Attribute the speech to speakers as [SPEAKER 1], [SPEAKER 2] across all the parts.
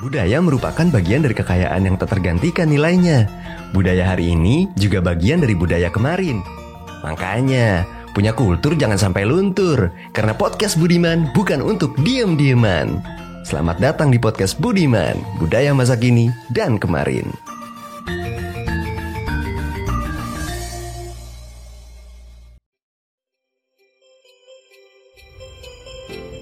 [SPEAKER 1] Budaya merupakan bagian dari kekayaan yang tak tergantikan nilainya. Budaya hari ini juga bagian dari budaya kemarin. Makanya, punya kultur jangan sampai luntur, karena podcast Budiman bukan untuk diem-dieman. Selamat datang di podcast Budiman, budaya masa kini dan kemarin.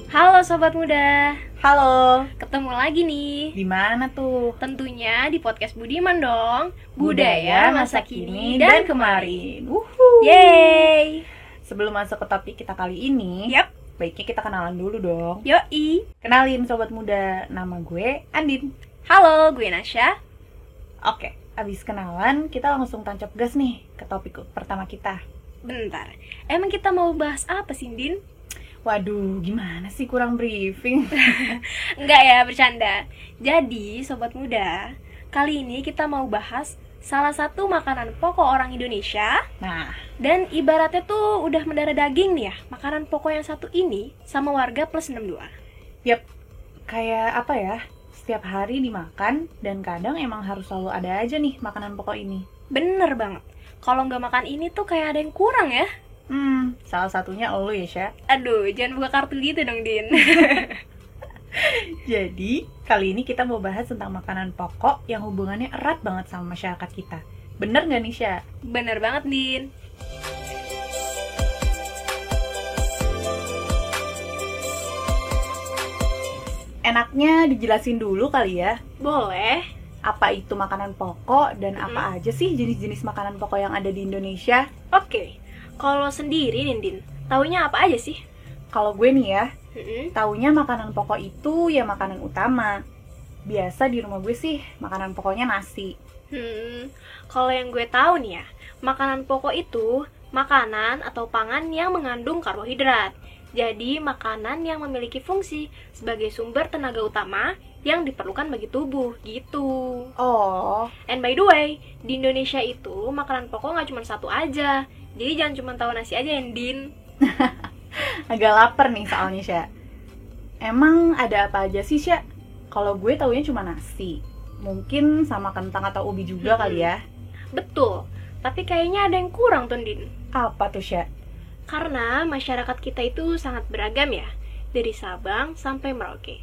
[SPEAKER 2] Halo sobat muda,
[SPEAKER 3] Halo,
[SPEAKER 2] ketemu lagi nih.
[SPEAKER 3] di mana tuh?
[SPEAKER 2] Tentunya di podcast Budiman dong.
[SPEAKER 3] Budaya masa kini dan kemarin. Wuhu.
[SPEAKER 2] Yeay.
[SPEAKER 3] Sebelum masuk ke topik kita kali ini,
[SPEAKER 2] Yap.
[SPEAKER 3] baiknya kita kenalan dulu dong.
[SPEAKER 2] Yoi.
[SPEAKER 3] Kenalin sobat muda, nama gue Andin.
[SPEAKER 2] Halo, gue Nasya.
[SPEAKER 3] Oke, abis kenalan kita langsung tancap gas nih ke topik pertama kita.
[SPEAKER 2] Bentar. Emang kita mau bahas apa sih, Din?
[SPEAKER 3] Waduh, gimana sih kurang briefing?
[SPEAKER 2] Enggak ya, bercanda. Jadi, sobat muda, kali ini kita mau bahas salah satu makanan pokok orang Indonesia
[SPEAKER 3] Nah,
[SPEAKER 2] dan ibaratnya tuh udah mendarah daging nih ya. Makanan pokok yang satu ini sama warga plus 62.
[SPEAKER 3] yep, kayak apa ya? Setiap hari dimakan dan kadang emang harus selalu ada aja nih makanan pokok ini.
[SPEAKER 2] Bener banget. Kalau nggak makan ini tuh kayak ada yang kurang ya.
[SPEAKER 3] Hmm, salah satunya elu ya, Sya.
[SPEAKER 2] Aduh, jangan buka kartu gitu dong, Din.
[SPEAKER 3] Jadi, kali ini kita mau bahas tentang makanan pokok yang hubungannya erat banget sama masyarakat kita. Bener nggak nih, Sya?
[SPEAKER 2] Bener banget, Din.
[SPEAKER 3] Enaknya dijelasin dulu kali ya,
[SPEAKER 2] Boleh.
[SPEAKER 3] apa itu makanan pokok dan
[SPEAKER 2] Mm.
[SPEAKER 3] apa aja sih jenis-jenis makanan pokok yang ada di Indonesia.
[SPEAKER 2] Oke. Kalau sendiri, Din, Din, taunya apa aja sih?
[SPEAKER 3] Kalau gue nih ya,
[SPEAKER 2] Mm-mm.
[SPEAKER 3] taunya makanan pokok itu ya makanan utama. Biasa di rumah gue sih, makanan pokoknya nasi.
[SPEAKER 2] Hmm. Kalau yang gue tahu nih ya, makanan pokok itu makanan atau pangan yang mengandung karbohidrat. Jadi, makanan yang memiliki fungsi sebagai sumber tenaga utama yang diperlukan bagi tubuh, gitu.
[SPEAKER 3] Oh,
[SPEAKER 2] And by the way, di Indonesia itu makanan pokok nggak cuma satu aja. Jadi jangan cuma tahu nasi aja yang din.
[SPEAKER 3] agak lapar nih soalnya, Sya. Emang ada apa aja sih, Sya? Kalau gue taunya cuma nasi. Mungkin sama kentang atau ubi juga
[SPEAKER 2] Mm-mm.
[SPEAKER 3] kali ya.
[SPEAKER 2] Betul. Tapi kayaknya ada yang kurang tuh din.
[SPEAKER 3] Apa tuh, Sya?
[SPEAKER 2] Karena masyarakat kita itu sangat beragam ya. Dari Sabang sampai Merauke.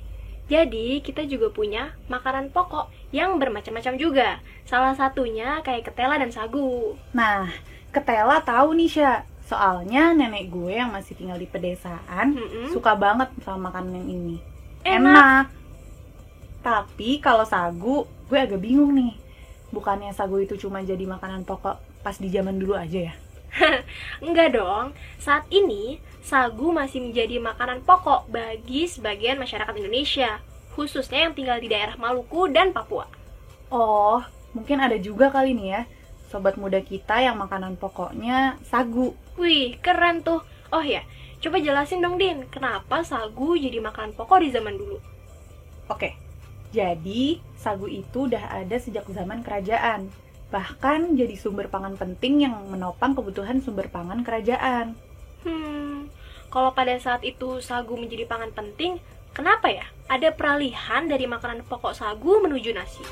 [SPEAKER 2] Jadi kita juga punya makanan pokok yang bermacam-macam juga. Salah satunya kayak ketela dan sagu.
[SPEAKER 3] Nah, ketela tahu nih, Sya. Soalnya nenek gue yang masih tinggal di pedesaan
[SPEAKER 2] Mm-mm.
[SPEAKER 3] suka banget sama makanan ini.
[SPEAKER 2] Enak.
[SPEAKER 3] Tapi kalau sagu, gue agak bingung nih. Bukannya sagu itu cuma jadi makanan pokok pas di zaman dulu aja ya?
[SPEAKER 2] Enggak dong. Saat ini sagu masih menjadi makanan pokok bagi sebagian masyarakat Indonesia, khususnya yang tinggal di daerah Maluku dan Papua.
[SPEAKER 3] Oh, mungkin ada juga kali nih ya sobat muda kita yang makanan pokoknya sagu.
[SPEAKER 2] Wih, keren tuh. Oh ya, coba jelasin dong Din, kenapa sagu jadi makanan pokok di zaman dulu?
[SPEAKER 3] Oke. Jadi, sagu itu udah ada sejak zaman kerajaan. Bahkan jadi sumber pangan penting yang menopang kebutuhan sumber pangan kerajaan.
[SPEAKER 2] Hmm, kalau pada saat itu sagu menjadi pangan penting, kenapa ya? Ada peralihan dari makanan pokok sagu menuju nasi.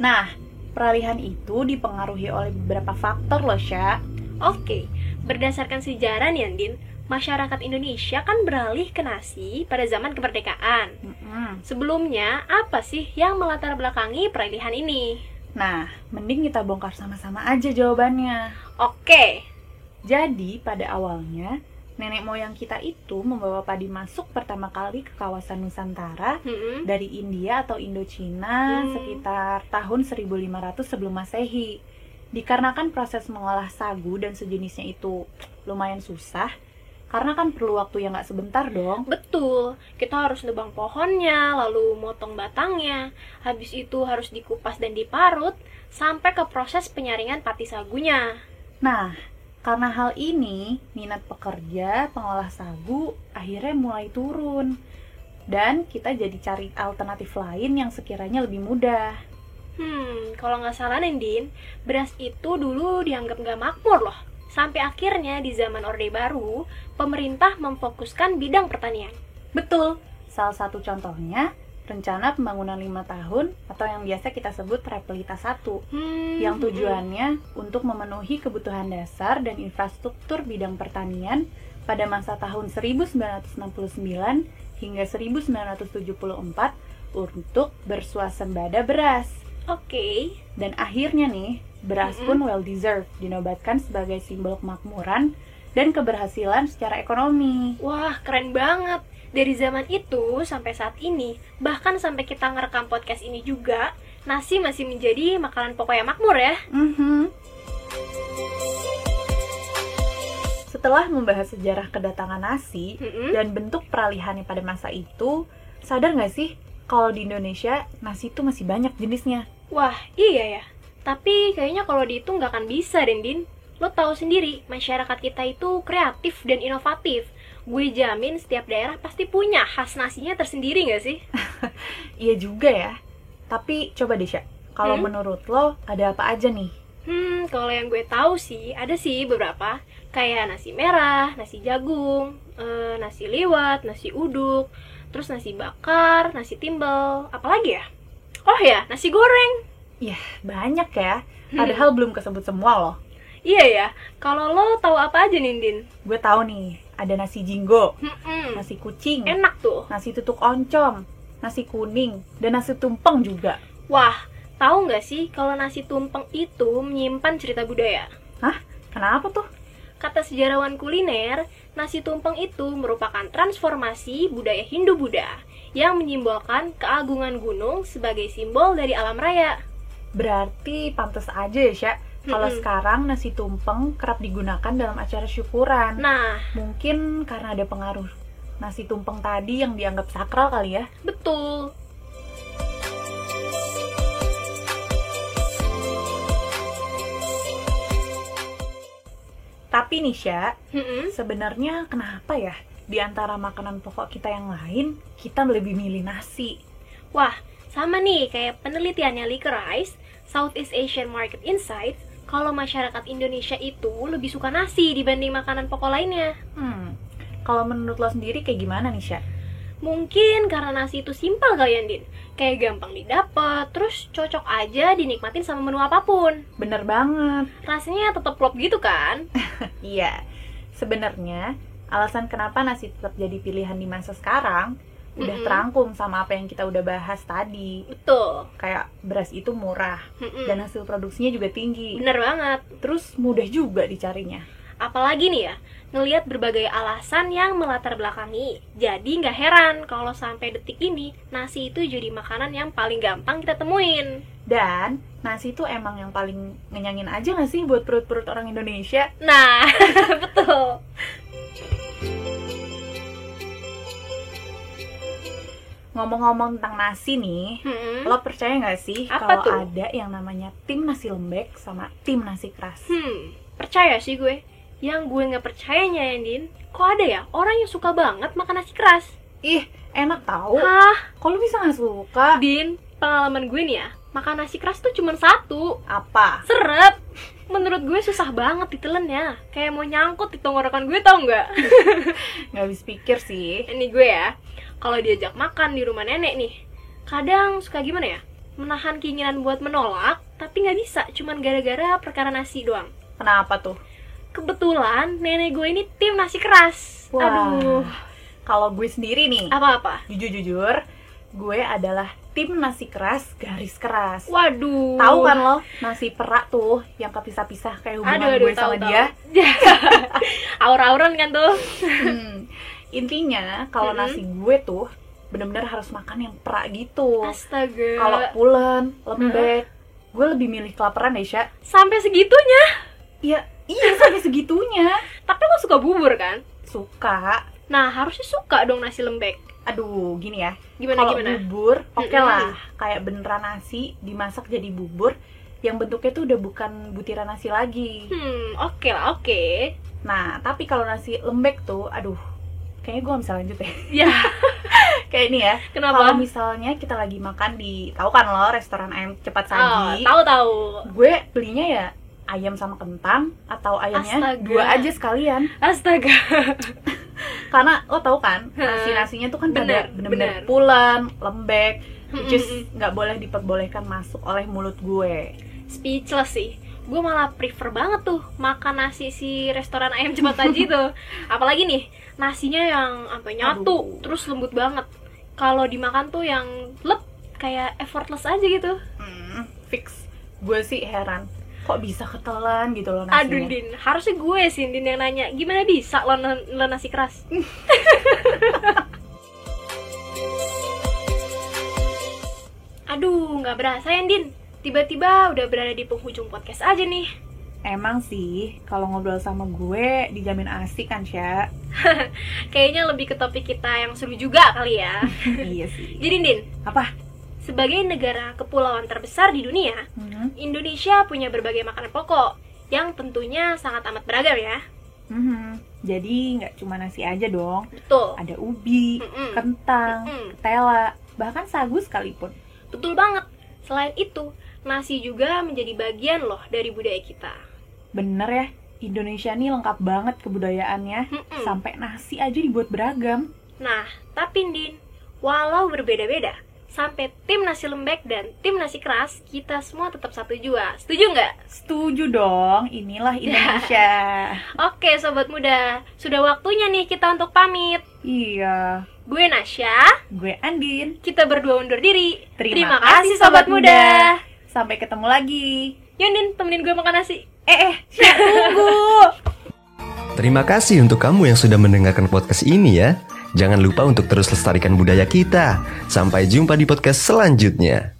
[SPEAKER 3] Nah, peralihan itu dipengaruhi oleh beberapa faktor loh, Sya.
[SPEAKER 2] Oke, berdasarkan sejarah nih Andin, masyarakat Indonesia kan beralih ke nasi pada zaman kemerdekaan.
[SPEAKER 3] Mm-mm.
[SPEAKER 2] Sebelumnya, apa sih yang melatar belakangi peralihan ini?
[SPEAKER 3] Nah, mending kita bongkar sama-sama aja jawabannya.
[SPEAKER 2] Oke,
[SPEAKER 3] Jadi, pada awalnya, nenek moyang kita itu membawa padi masuk pertama kali ke kawasan Nusantara
[SPEAKER 2] hmm,
[SPEAKER 3] dari India atau Indochina
[SPEAKER 2] Hmm.
[SPEAKER 3] sekitar tahun 1500 sebelum Masehi. Dikarenakan proses mengolah sagu dan sejenisnya itu lumayan susah, karena kan perlu waktu yang nggak sebentar dong.
[SPEAKER 2] betul. Kita harus nebang pohonnya, lalu motong batangnya. Habis itu harus dikupas dan diparut sampai ke proses penyaringan pati sagunya.
[SPEAKER 3] Nah, karena hal ini, minat pekerja pengolah sagu akhirnya mulai turun. Dan kita jadi cari alternatif lain yang sekiranya lebih mudah.
[SPEAKER 2] Hmm, kalau nggak salah Nendin, beras itu dulu dianggap nggak makmur loh. Sampai akhirnya di zaman Orde Baru, pemerintah memfokuskan bidang pertanian.
[SPEAKER 3] Betul, salah satu contohnya rencana pembangunan lima tahun atau yang biasa kita sebut Repelita 1
[SPEAKER 2] Hmm, hmm,
[SPEAKER 3] yang
[SPEAKER 2] hmm.
[SPEAKER 3] tujuannya untuk memenuhi kebutuhan dasar dan infrastruktur bidang pertanian pada masa tahun 1969 hingga 1974 untuk bersuasembada beras.
[SPEAKER 2] Oke,
[SPEAKER 3] Dan akhirnya nih, beras
[SPEAKER 2] Mm-mm.
[SPEAKER 3] pun well deserved dinobatkan sebagai simbol kemakmuran dan keberhasilan secara ekonomi.
[SPEAKER 2] wah keren banget. Dari zaman itu sampai saat ini, bahkan sampai kita ngerekam podcast ini juga, nasi masih menjadi makanan pokok yang makmur ya.
[SPEAKER 3] Mhm. Setelah membahas sejarah kedatangan nasi,
[SPEAKER 2] Hmm, hmm.
[SPEAKER 3] dan bentuk peralihannya pada masa itu sadar nggak sih kalau di Indonesia nasi itu masih banyak jenisnya
[SPEAKER 2] Wah, iya ya. Tapi kayaknya kalau dihitung nggak akan bisa, Dendin. Lo tahu sendiri, masyarakat kita itu kreatif dan inovatif. Gue jamin setiap daerah pasti punya khas nasinya tersendiri nggak sih?
[SPEAKER 3] iya juga ya tapi coba deh Sya, kalau
[SPEAKER 2] Hmm?
[SPEAKER 3] menurut lo ada apa aja nih
[SPEAKER 2] Hmm, kalau yang gue tahu sih, ada sih beberapa kayak nasi merah, nasi jagung, eh, nasi liwet, nasi uduk, terus nasi bakar, nasi timbel, apalagi ya? Oh ya, nasi goreng.
[SPEAKER 3] banyak ya
[SPEAKER 2] Hmm.
[SPEAKER 3] padahal belum kesebut semua loh
[SPEAKER 2] Iya ya. Kalau lo tahu apa aja, Nindin?
[SPEAKER 3] gue tahu nih ada nasi jinggo
[SPEAKER 2] Hmm,
[SPEAKER 3] nasi kucing
[SPEAKER 2] enak tuh.
[SPEAKER 3] nasi tutuk oncom nasi kuning dan nasi tumpeng juga
[SPEAKER 2] Wah, tahu nggak sih kalau nasi tumpeng itu menyimpan cerita budaya?
[SPEAKER 3] kenapa tuh
[SPEAKER 2] Kata sejarawan kuliner, nasi tumpeng itu merupakan transformasi budaya Hindu-Buddha yang menyimbolkan keagungan gunung sebagai simbol dari alam raya.
[SPEAKER 3] berarti pantas aja ya Sya kalau
[SPEAKER 2] Mm-mm.
[SPEAKER 3] sekarang nasi tumpeng kerap digunakan dalam acara syukuran
[SPEAKER 2] Nah,
[SPEAKER 3] Mungkin karena ada pengaruh nasi tumpeng tadi yang dianggap sakral kali ya.
[SPEAKER 2] betul.
[SPEAKER 3] Tapi nih Sya,
[SPEAKER 2] Mm-mm.
[SPEAKER 3] sebenarnya kenapa ya di antara makanan pokok kita yang lain, kita lebih milih nasi?
[SPEAKER 2] Wah, sama nih kayak penelitiannya Likerice, Southeast Asian Market Insights, kalau masyarakat Indonesia itu lebih suka nasi dibanding makanan pokok lainnya.
[SPEAKER 3] Hmm, kalau menurut lo sendiri kayak gimana nih Sya?
[SPEAKER 2] Mungkin karena nasi itu simpel kali ya, Din. Kayak gampang didapat, terus cocok aja dinikmatin sama menu apapun.
[SPEAKER 3] Bener banget.
[SPEAKER 2] Rasanya tetap klop gitu kan?
[SPEAKER 3] Iya, sebenarnya alasan kenapa nasi tetap jadi pilihan di masa sekarang, udah
[SPEAKER 2] Mm-mm.
[SPEAKER 3] terangkum sama apa yang kita udah bahas tadi.
[SPEAKER 2] Betul.
[SPEAKER 3] Kayak beras itu murah
[SPEAKER 2] Mm-mm.
[SPEAKER 3] dan hasil produksinya juga tinggi.
[SPEAKER 2] Bener banget.
[SPEAKER 3] Terus mudah juga dicarinya.
[SPEAKER 2] Apalagi nih ya, ngelihat berbagai alasan yang melatar belakangi. Jadi nggak heran kalau sampai detik ini nasi itu jadi makanan yang paling gampang kita temuin.
[SPEAKER 3] Dan nasi itu emang yang paling ngenyangin aja gak sih buat perut-perut orang Indonesia?
[SPEAKER 2] Nah, betul.
[SPEAKER 3] Ngomong-ngomong tentang nasi nih,
[SPEAKER 2] Mm-mm.
[SPEAKER 3] lo percaya gak sih
[SPEAKER 2] Hmm? Apa tuh?
[SPEAKER 3] kalau ada yang namanya tim nasi lembek sama tim nasi keras?
[SPEAKER 2] Hmm, percaya sih gue. Yang gue nggak percayanya, Yandin, kok ada ya orang yang suka banget makan nasi keras?
[SPEAKER 3] Ih,
[SPEAKER 2] Oh.
[SPEAKER 3] enak tau.
[SPEAKER 2] Hah,
[SPEAKER 3] Kok lo bisa gak suka?
[SPEAKER 2] Din, pengalaman gue nih ya, makan nasi keras tuh cuma satu.
[SPEAKER 3] Apa?
[SPEAKER 2] Serep. Menurut gue susah banget ditelennya. Kayak mau nyangkut di tenggorokan gue tau nggak?
[SPEAKER 3] Gak habis pikir sih.
[SPEAKER 2] Ini gue ya, kalau diajak makan di rumah nenek nih, kadang suka gimana ya? Menahan keinginan buat menolak, tapi nggak bisa, cuman gara-gara perkara nasi doang.
[SPEAKER 3] Kenapa tuh?
[SPEAKER 2] Kebetulan nenek gue ini tim nasi keras.
[SPEAKER 3] Wah,
[SPEAKER 2] Aduh,
[SPEAKER 3] Kalau gue sendiri nih,
[SPEAKER 2] apa-apa?
[SPEAKER 3] jujur-jujur, gue adalah tim nasi keras garis keras.
[SPEAKER 2] Waduh.
[SPEAKER 3] Tahu kan lo nasi perak tuh yang kepisah-pisah kayak hubungan
[SPEAKER 2] Aduh, aduh,
[SPEAKER 3] gue
[SPEAKER 2] tahu,
[SPEAKER 3] sama
[SPEAKER 2] tahu.
[SPEAKER 3] dia.
[SPEAKER 2] Aur-auran kan tuh.
[SPEAKER 3] Hmm. Intinya kalau
[SPEAKER 2] Mm-mm.
[SPEAKER 3] nasi gue tuh bener-bener harus makan yang perak gitu.
[SPEAKER 2] Astaga.
[SPEAKER 3] Kalau pulen, lembek, gue lebih milih kelaparan deh, Sya.
[SPEAKER 2] sampai segitunya,
[SPEAKER 3] Iya, iya sampai segitunya.
[SPEAKER 2] tapi lo suka bubur kan?
[SPEAKER 3] Suka.
[SPEAKER 2] Nah, harusnya suka dong nasi lembek.
[SPEAKER 3] Aduh, gini ya.
[SPEAKER 2] Gimana
[SPEAKER 3] Kalau
[SPEAKER 2] gimana?
[SPEAKER 3] bubur, oke
[SPEAKER 2] Mm-mm.
[SPEAKER 3] lah. Kayak beneran nasi dimasak jadi bubur yang bentuknya tuh udah bukan butiran nasi lagi.
[SPEAKER 2] Hmm, oke lah, oke.
[SPEAKER 3] Nah, tapi kalau nasi lembek tuh, aduh, kayaknya gue nggak bisa lanjut deh.
[SPEAKER 2] Ya,
[SPEAKER 3] Kayak ini ya. Kalau
[SPEAKER 2] Kenapa?
[SPEAKER 3] misalnya kita lagi makan di tahu kan lo restoran ayam
[SPEAKER 2] Oh,
[SPEAKER 3] cepat saji.
[SPEAKER 2] tahu-tahu.
[SPEAKER 3] gue belinya ya ayam sama kentang atau ayamnya
[SPEAKER 2] Astaga.
[SPEAKER 3] dua aja sekalian.
[SPEAKER 2] Astaga.
[SPEAKER 3] Karena lo tahu kan
[SPEAKER 2] Heeh.
[SPEAKER 3] nasi-nasinya tuh kan
[SPEAKER 2] Bener,
[SPEAKER 3] pada bener-bener
[SPEAKER 2] bener.
[SPEAKER 3] pulen, lembek, just
[SPEAKER 2] Mm-mm.
[SPEAKER 3] nggak boleh diperbolehkan masuk oleh mulut gue.
[SPEAKER 2] hmm. Speechless sih. Gue malah prefer banget tuh makan nasi si restoran ayam cepat saji tuh. Apalagi nih, nasinya yang sampai nyatu,
[SPEAKER 3] Aduh.
[SPEAKER 2] terus lembut banget. Kalau dimakan tuh yang lep kayak effortless aja gitu.
[SPEAKER 3] Hmm, fix. Gue sih heran kok bisa ketelan gitu loh
[SPEAKER 2] Aduh
[SPEAKER 3] nasinya.
[SPEAKER 2] Din, harusnya gue sih Din yang nanya Gimana bisa lo, nen- lo nasi keras? Aduh, nggak berasa ya Din Tiba-tiba udah berada di penghujung podcast aja nih
[SPEAKER 3] Emang sih kalau ngobrol sama gue dijamin asik kan, Sya?
[SPEAKER 2] Kayaknya lebih ke topik kita yang seru juga kali ya
[SPEAKER 3] iya sih.
[SPEAKER 2] Jadi Din,
[SPEAKER 3] Apa?
[SPEAKER 2] sebagai negara kepulauan terbesar di dunia
[SPEAKER 3] Mhm.
[SPEAKER 2] Indonesia punya berbagai makanan pokok Yang tentunya sangat amat beragam ya
[SPEAKER 3] Mhm. Jadi nggak cuma nasi aja dong,
[SPEAKER 2] Betul
[SPEAKER 3] ada ubi,
[SPEAKER 2] Mm-mm.
[SPEAKER 3] kentang,
[SPEAKER 2] Mm-mm.
[SPEAKER 3] ketela, bahkan sagu sekalipun.
[SPEAKER 2] Betul banget. Selain itu, nasi juga menjadi bagian loh dari budaya kita.
[SPEAKER 3] Bener ya, Indonesia nih lengkap banget kebudayaannya.
[SPEAKER 2] Mm-mm.
[SPEAKER 3] Sampai nasi aja dibuat beragam.
[SPEAKER 2] Nah, tapi Din, walau berbeda-beda, sampai tim nasi lembek dan tim nasi keras, kita semua tetap satu jua. Setuju nggak?
[SPEAKER 3] Setuju dong, inilah Indonesia.
[SPEAKER 2] Oke, sobat muda, sudah waktunya nih kita untuk pamit.
[SPEAKER 3] iya,
[SPEAKER 2] Gue Nasya,
[SPEAKER 3] gue Andin.
[SPEAKER 2] kita berdua undur diri.
[SPEAKER 3] Terima kasih, Sobat Muda. Sampai ketemu lagi.
[SPEAKER 2] Yundin, temenin gue makan nasi.
[SPEAKER 3] Eh, eh, Sya, tunggu.
[SPEAKER 1] Terima kasih untuk kamu yang sudah mendengarkan podcast ini ya. Jangan lupa untuk terus lestarikan budaya kita. Sampai jumpa di podcast selanjutnya.